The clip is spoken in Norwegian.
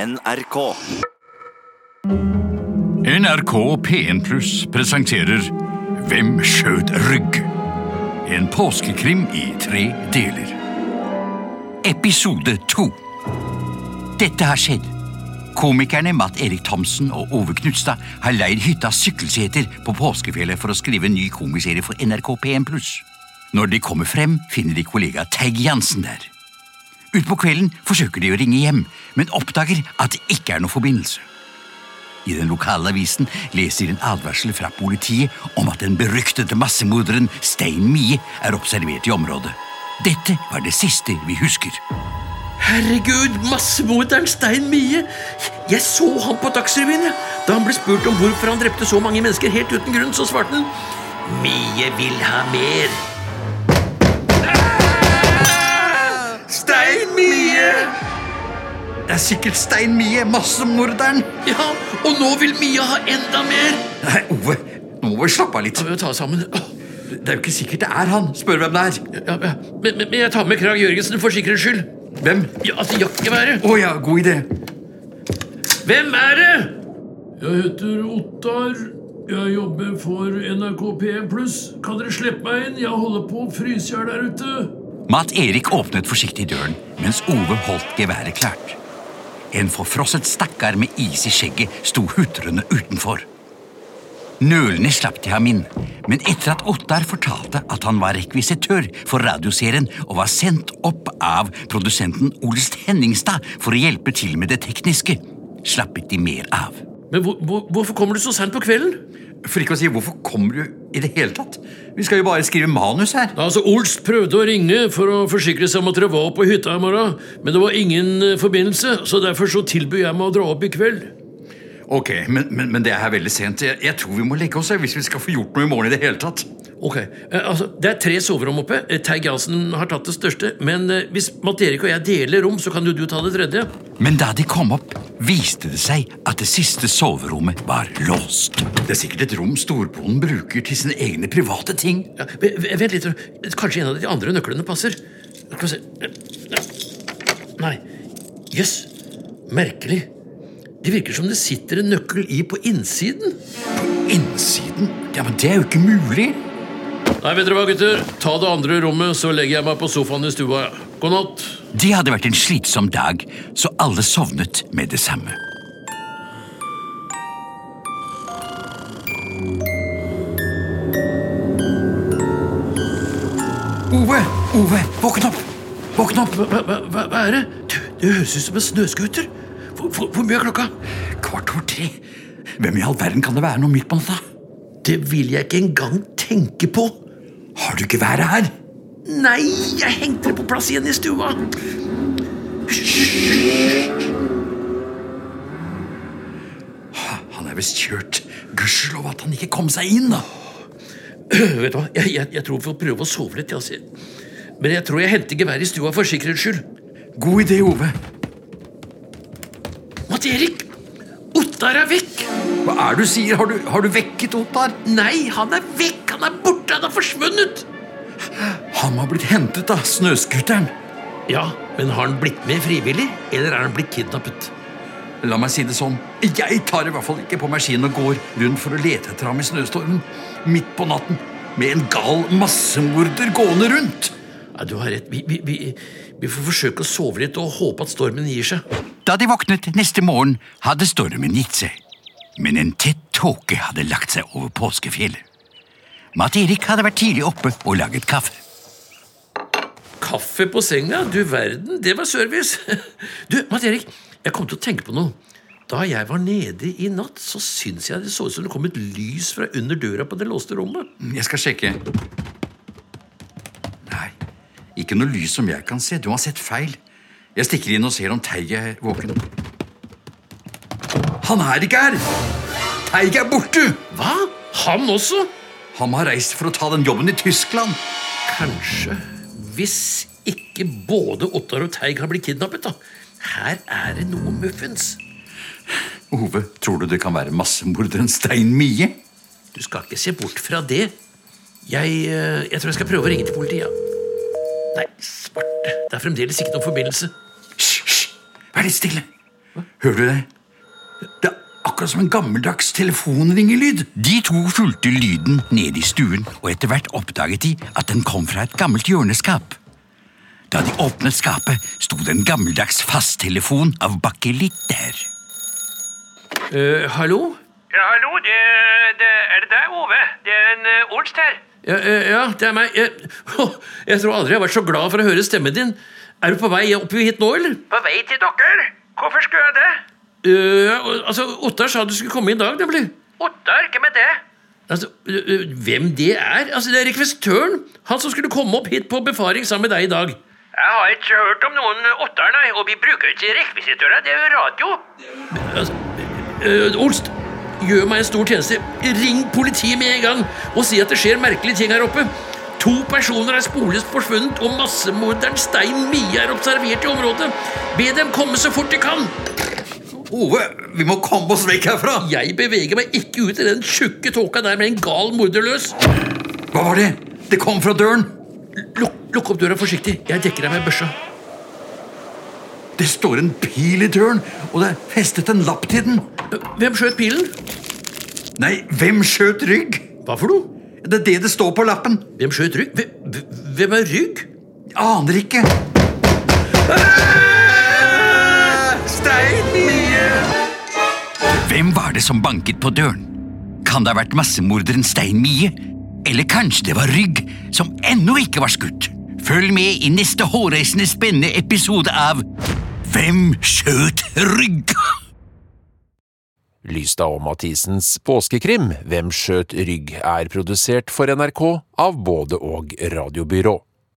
NRK. NRK P1 Pluss presenterer Hvem skjøt rygg? En påskekrim i tre deler. Episode to. Dette har skjedd. Komikerne Matt Erik Thomsen og Ove Knutstad har leid hyttas sykkelseter på påskefjellet for å skrive en ny komiserie for NRK P1 Pluss. Når de kommer frem, finner de kollega Teig Jansen der. Utpå kvelden forsøker de å ringe hjem, men oppdager at det ikke er noen forbindelse. I den lokale avisen leser de en advarsel fra politiet om at den beryktede massemorderen Stein Mie er observert i området. Dette var det siste vi husker. Herregud, massemorderen Stein Mie! Jeg så han på Dagsrevyen. jeg. Da han ble spurt om hvorfor han drepte så mange mennesker helt uten grunn, så svarte han Mie vil ha mer. Ah! Stein Mie! Det er sikkert Stein Mie, massemorderen! Ja, og nå vil Mie ha enda mer. Nei, Ove, nå må vi slappe av litt. Så må vi ta oss sammen. Åh, Det er jo ikke sikkert det er han. Spør hvem det er. Ja, ja. Men, men, men jeg tar med Krag Jørgensen for sikkerhets skyld. Hvem? Ja, altså, jakkeværet. Å ja, god idé. Hvem er det? Jeg heter Ottar. Jeg jobber for NRK P1 pluss. Kan dere slippe meg inn? Jeg holder på å fryse i hjel der ute. Matt Erik åpnet forsiktig døren, mens Ove holdt geværet klart. En forfrosset stakkar med is i skjegget sto hutrende utenfor. Nølende slapp de ham inn, men etter at Ottar fortalte at han var rekvisitør for radioserien og var sendt opp av produsenten Olst Henningstad for å hjelpe til med det tekniske, slappet de mer av. Men hvor, hvor, hvorfor kommer du så seint på kvelden? For ikke å si hvorfor kommer du i det hele tatt? Vi skal jo bare skrive manus her. Altså, Olst prøvde å ringe for å forsikre seg om at dere var på hytta i morgen, men det var ingen eh, forbindelse, så derfor så tilbød jeg meg å dra opp i kveld. Ok, men, men, men det er veldig sent. Jeg, jeg tror vi må legge oss her hvis vi skal få gjort noe i morgen i det hele tatt. Ok, eh, altså, Det er tre soverom oppe. Eh, Teig Jansen har tatt det største. Men eh, hvis Matt Erik og jeg deler rom, så kan jo du ta det tredje. Men da de kom opp, viste det seg at det siste soverommet var låst. Det er sikkert et rom storbonden bruker til sine egne private ting. Ja, v- v- vent litt. Kanskje en av de andre nøklene passer. Skal vi se Eh, Nei. Jøss. Merkelig. Det virker som det sitter en nøkkel i på innsiden. Innsiden? Ja, men det er jo ikke mulig. Nei, vet dere hva, gutter? Ta det andre rommet, så legger jeg meg på sofaen i stua. God natt. Det hadde vært en slitsom dag, så alle sovnet med det samme. Ove! Ove, våkn opp! Våkn opp! Hva, hva, hva, hva er det? Du, det høres ut som en snøscooter. Hvor, hvor, hvor mye er klokka? Kvart over tre. Hvem i all verden kan det være nå midt på natta? Det vil jeg ikke engang tenke på. Har du geværet her? Nei, jeg hengte det på plass igjen i stua. Han er visst kjørt. Gudskjelov at han ikke kom seg inn, da. Vet du hva, jeg, jeg, jeg tror vi får prøve å sove litt. jeg, Altså. Men jeg tror jeg henter geværet i stua for sikkerhets skyld. God idé, Ove. Matt Erik! Ottar er vekk! Hva er det du sier? Har du, har du vekket Ottar? Nei, han er vekk! Han er borte! Han har forsvunnet! Han må ha blitt hentet av snøskuteren. Ja, men har han blitt med frivillig, eller er han blitt kidnappet? La meg si det sånn. Jeg tar i hvert fall ikke på maskinen og går rundt for å lete etter ham i snøstormen. Midt på natten. Med en gal massemorder gående rundt. Ja, du har rett. Vi, vi, vi, vi får forsøke å sove litt og håpe at stormen gir seg. Da de våknet neste morgen, hadde stormen gitt seg. Men en tett tåke hadde lagt seg over påskefjellet. Matt Erik hadde vært tidlig oppe og laget kaffe. Kaffe på senga? Du verden, det var service. Du, Matt Erik, jeg kom til å tenke på noe. Da jeg var nede i natt, så syns jeg det så ut som det kom et lys fra under døra på det låste rommet. Mm, Jeg skal sjekke. Nei, ikke noe lys som jeg kan se. Du har sett feil. Jeg stikker inn og ser om Teig er våken. Han er ikke her! Teig er borte! Hva? Han også? Han må ha reist for å ta den jobben i Tyskland. Kanskje. Hvis ikke både Ottar og Teig har blitt kidnappet, da. Her er det noe muffens. Ove, tror du det kan være massemorderen Stein Mie? Du skal ikke se bort fra det. Jeg, eh, jeg tror jeg skal prøve å ringe til politiet. Ja. Nei, svarte. Det er fremdeles ikke noen forbindelse. Hysj, hysj! Vær litt stille. Hører du det? Det er akkurat som en gammeldags telefonringelyd. De to fulgte lyden ned i stuen, og etter hvert oppdaget de at den kom fra et gammelt hjørneskap. Da de åpnet skapet, sto det en gammeldags fasttelefon av bakelitt der. Eh, hallo? Ja, hallo, det, det, er det deg, Ove? Det er en eh, Olst her. Ja, eh, ja, det er meg. Jeg, jeg tror aldri jeg har vært så glad for å høre stemmen din. Er du på vei opp hit nå, eller? På vei til dere. Hvorfor skulle jeg det? Eh, altså, Ottar sa du skulle komme i dag, nemlig. Ottar, hvem er det? Altså, eh, eh, Hvem det er? Altså, Det er rekvisitøren. Han som skulle komme opp hit på befaring sammen med deg i dag. Jeg har ikke hørt om noen Ottar, nei, og vi bruker ikke rekvisitører, det er jo radio. Eh, Olst, gjør meg en stor tjeneste. Ring politiet med en gang og si at det skjer merkelige ting her oppe. To personer er sporløst forsvunnet, og massemorderen Stein Mie er observert i området. Be dem komme så fort de kan. Ove, vi må komme oss vekk herfra! Jeg beveger meg ikke ut i den tjukke tåka der med en gal morder løs. Hva var det? Det kom fra døren! Lukk, lukk opp døra forsiktig. Jeg dekker deg med børsa. Det står en pil i døren, og det er festet en lapp til den. Eh, Hvem skjøt pilen? Nei, hvem skjøt rygg? Hva for noe? Det er det det står på lappen. Hvem skjøt rygg? Hvem, hvem er rygg? Jeg aner ikke. Stein Hvem var det som banket på døren? Kan det ha vært massemorderen Stein Mie? Eller kanskje det var Rygg, som ennå ikke var skutt? Følg med i neste hårreisende spennende episode av Hvem skjøt Rygg? Lystad og Mathisens påskekrim Hvem skjøt rygg? er produsert for NRK av både og radiobyrå.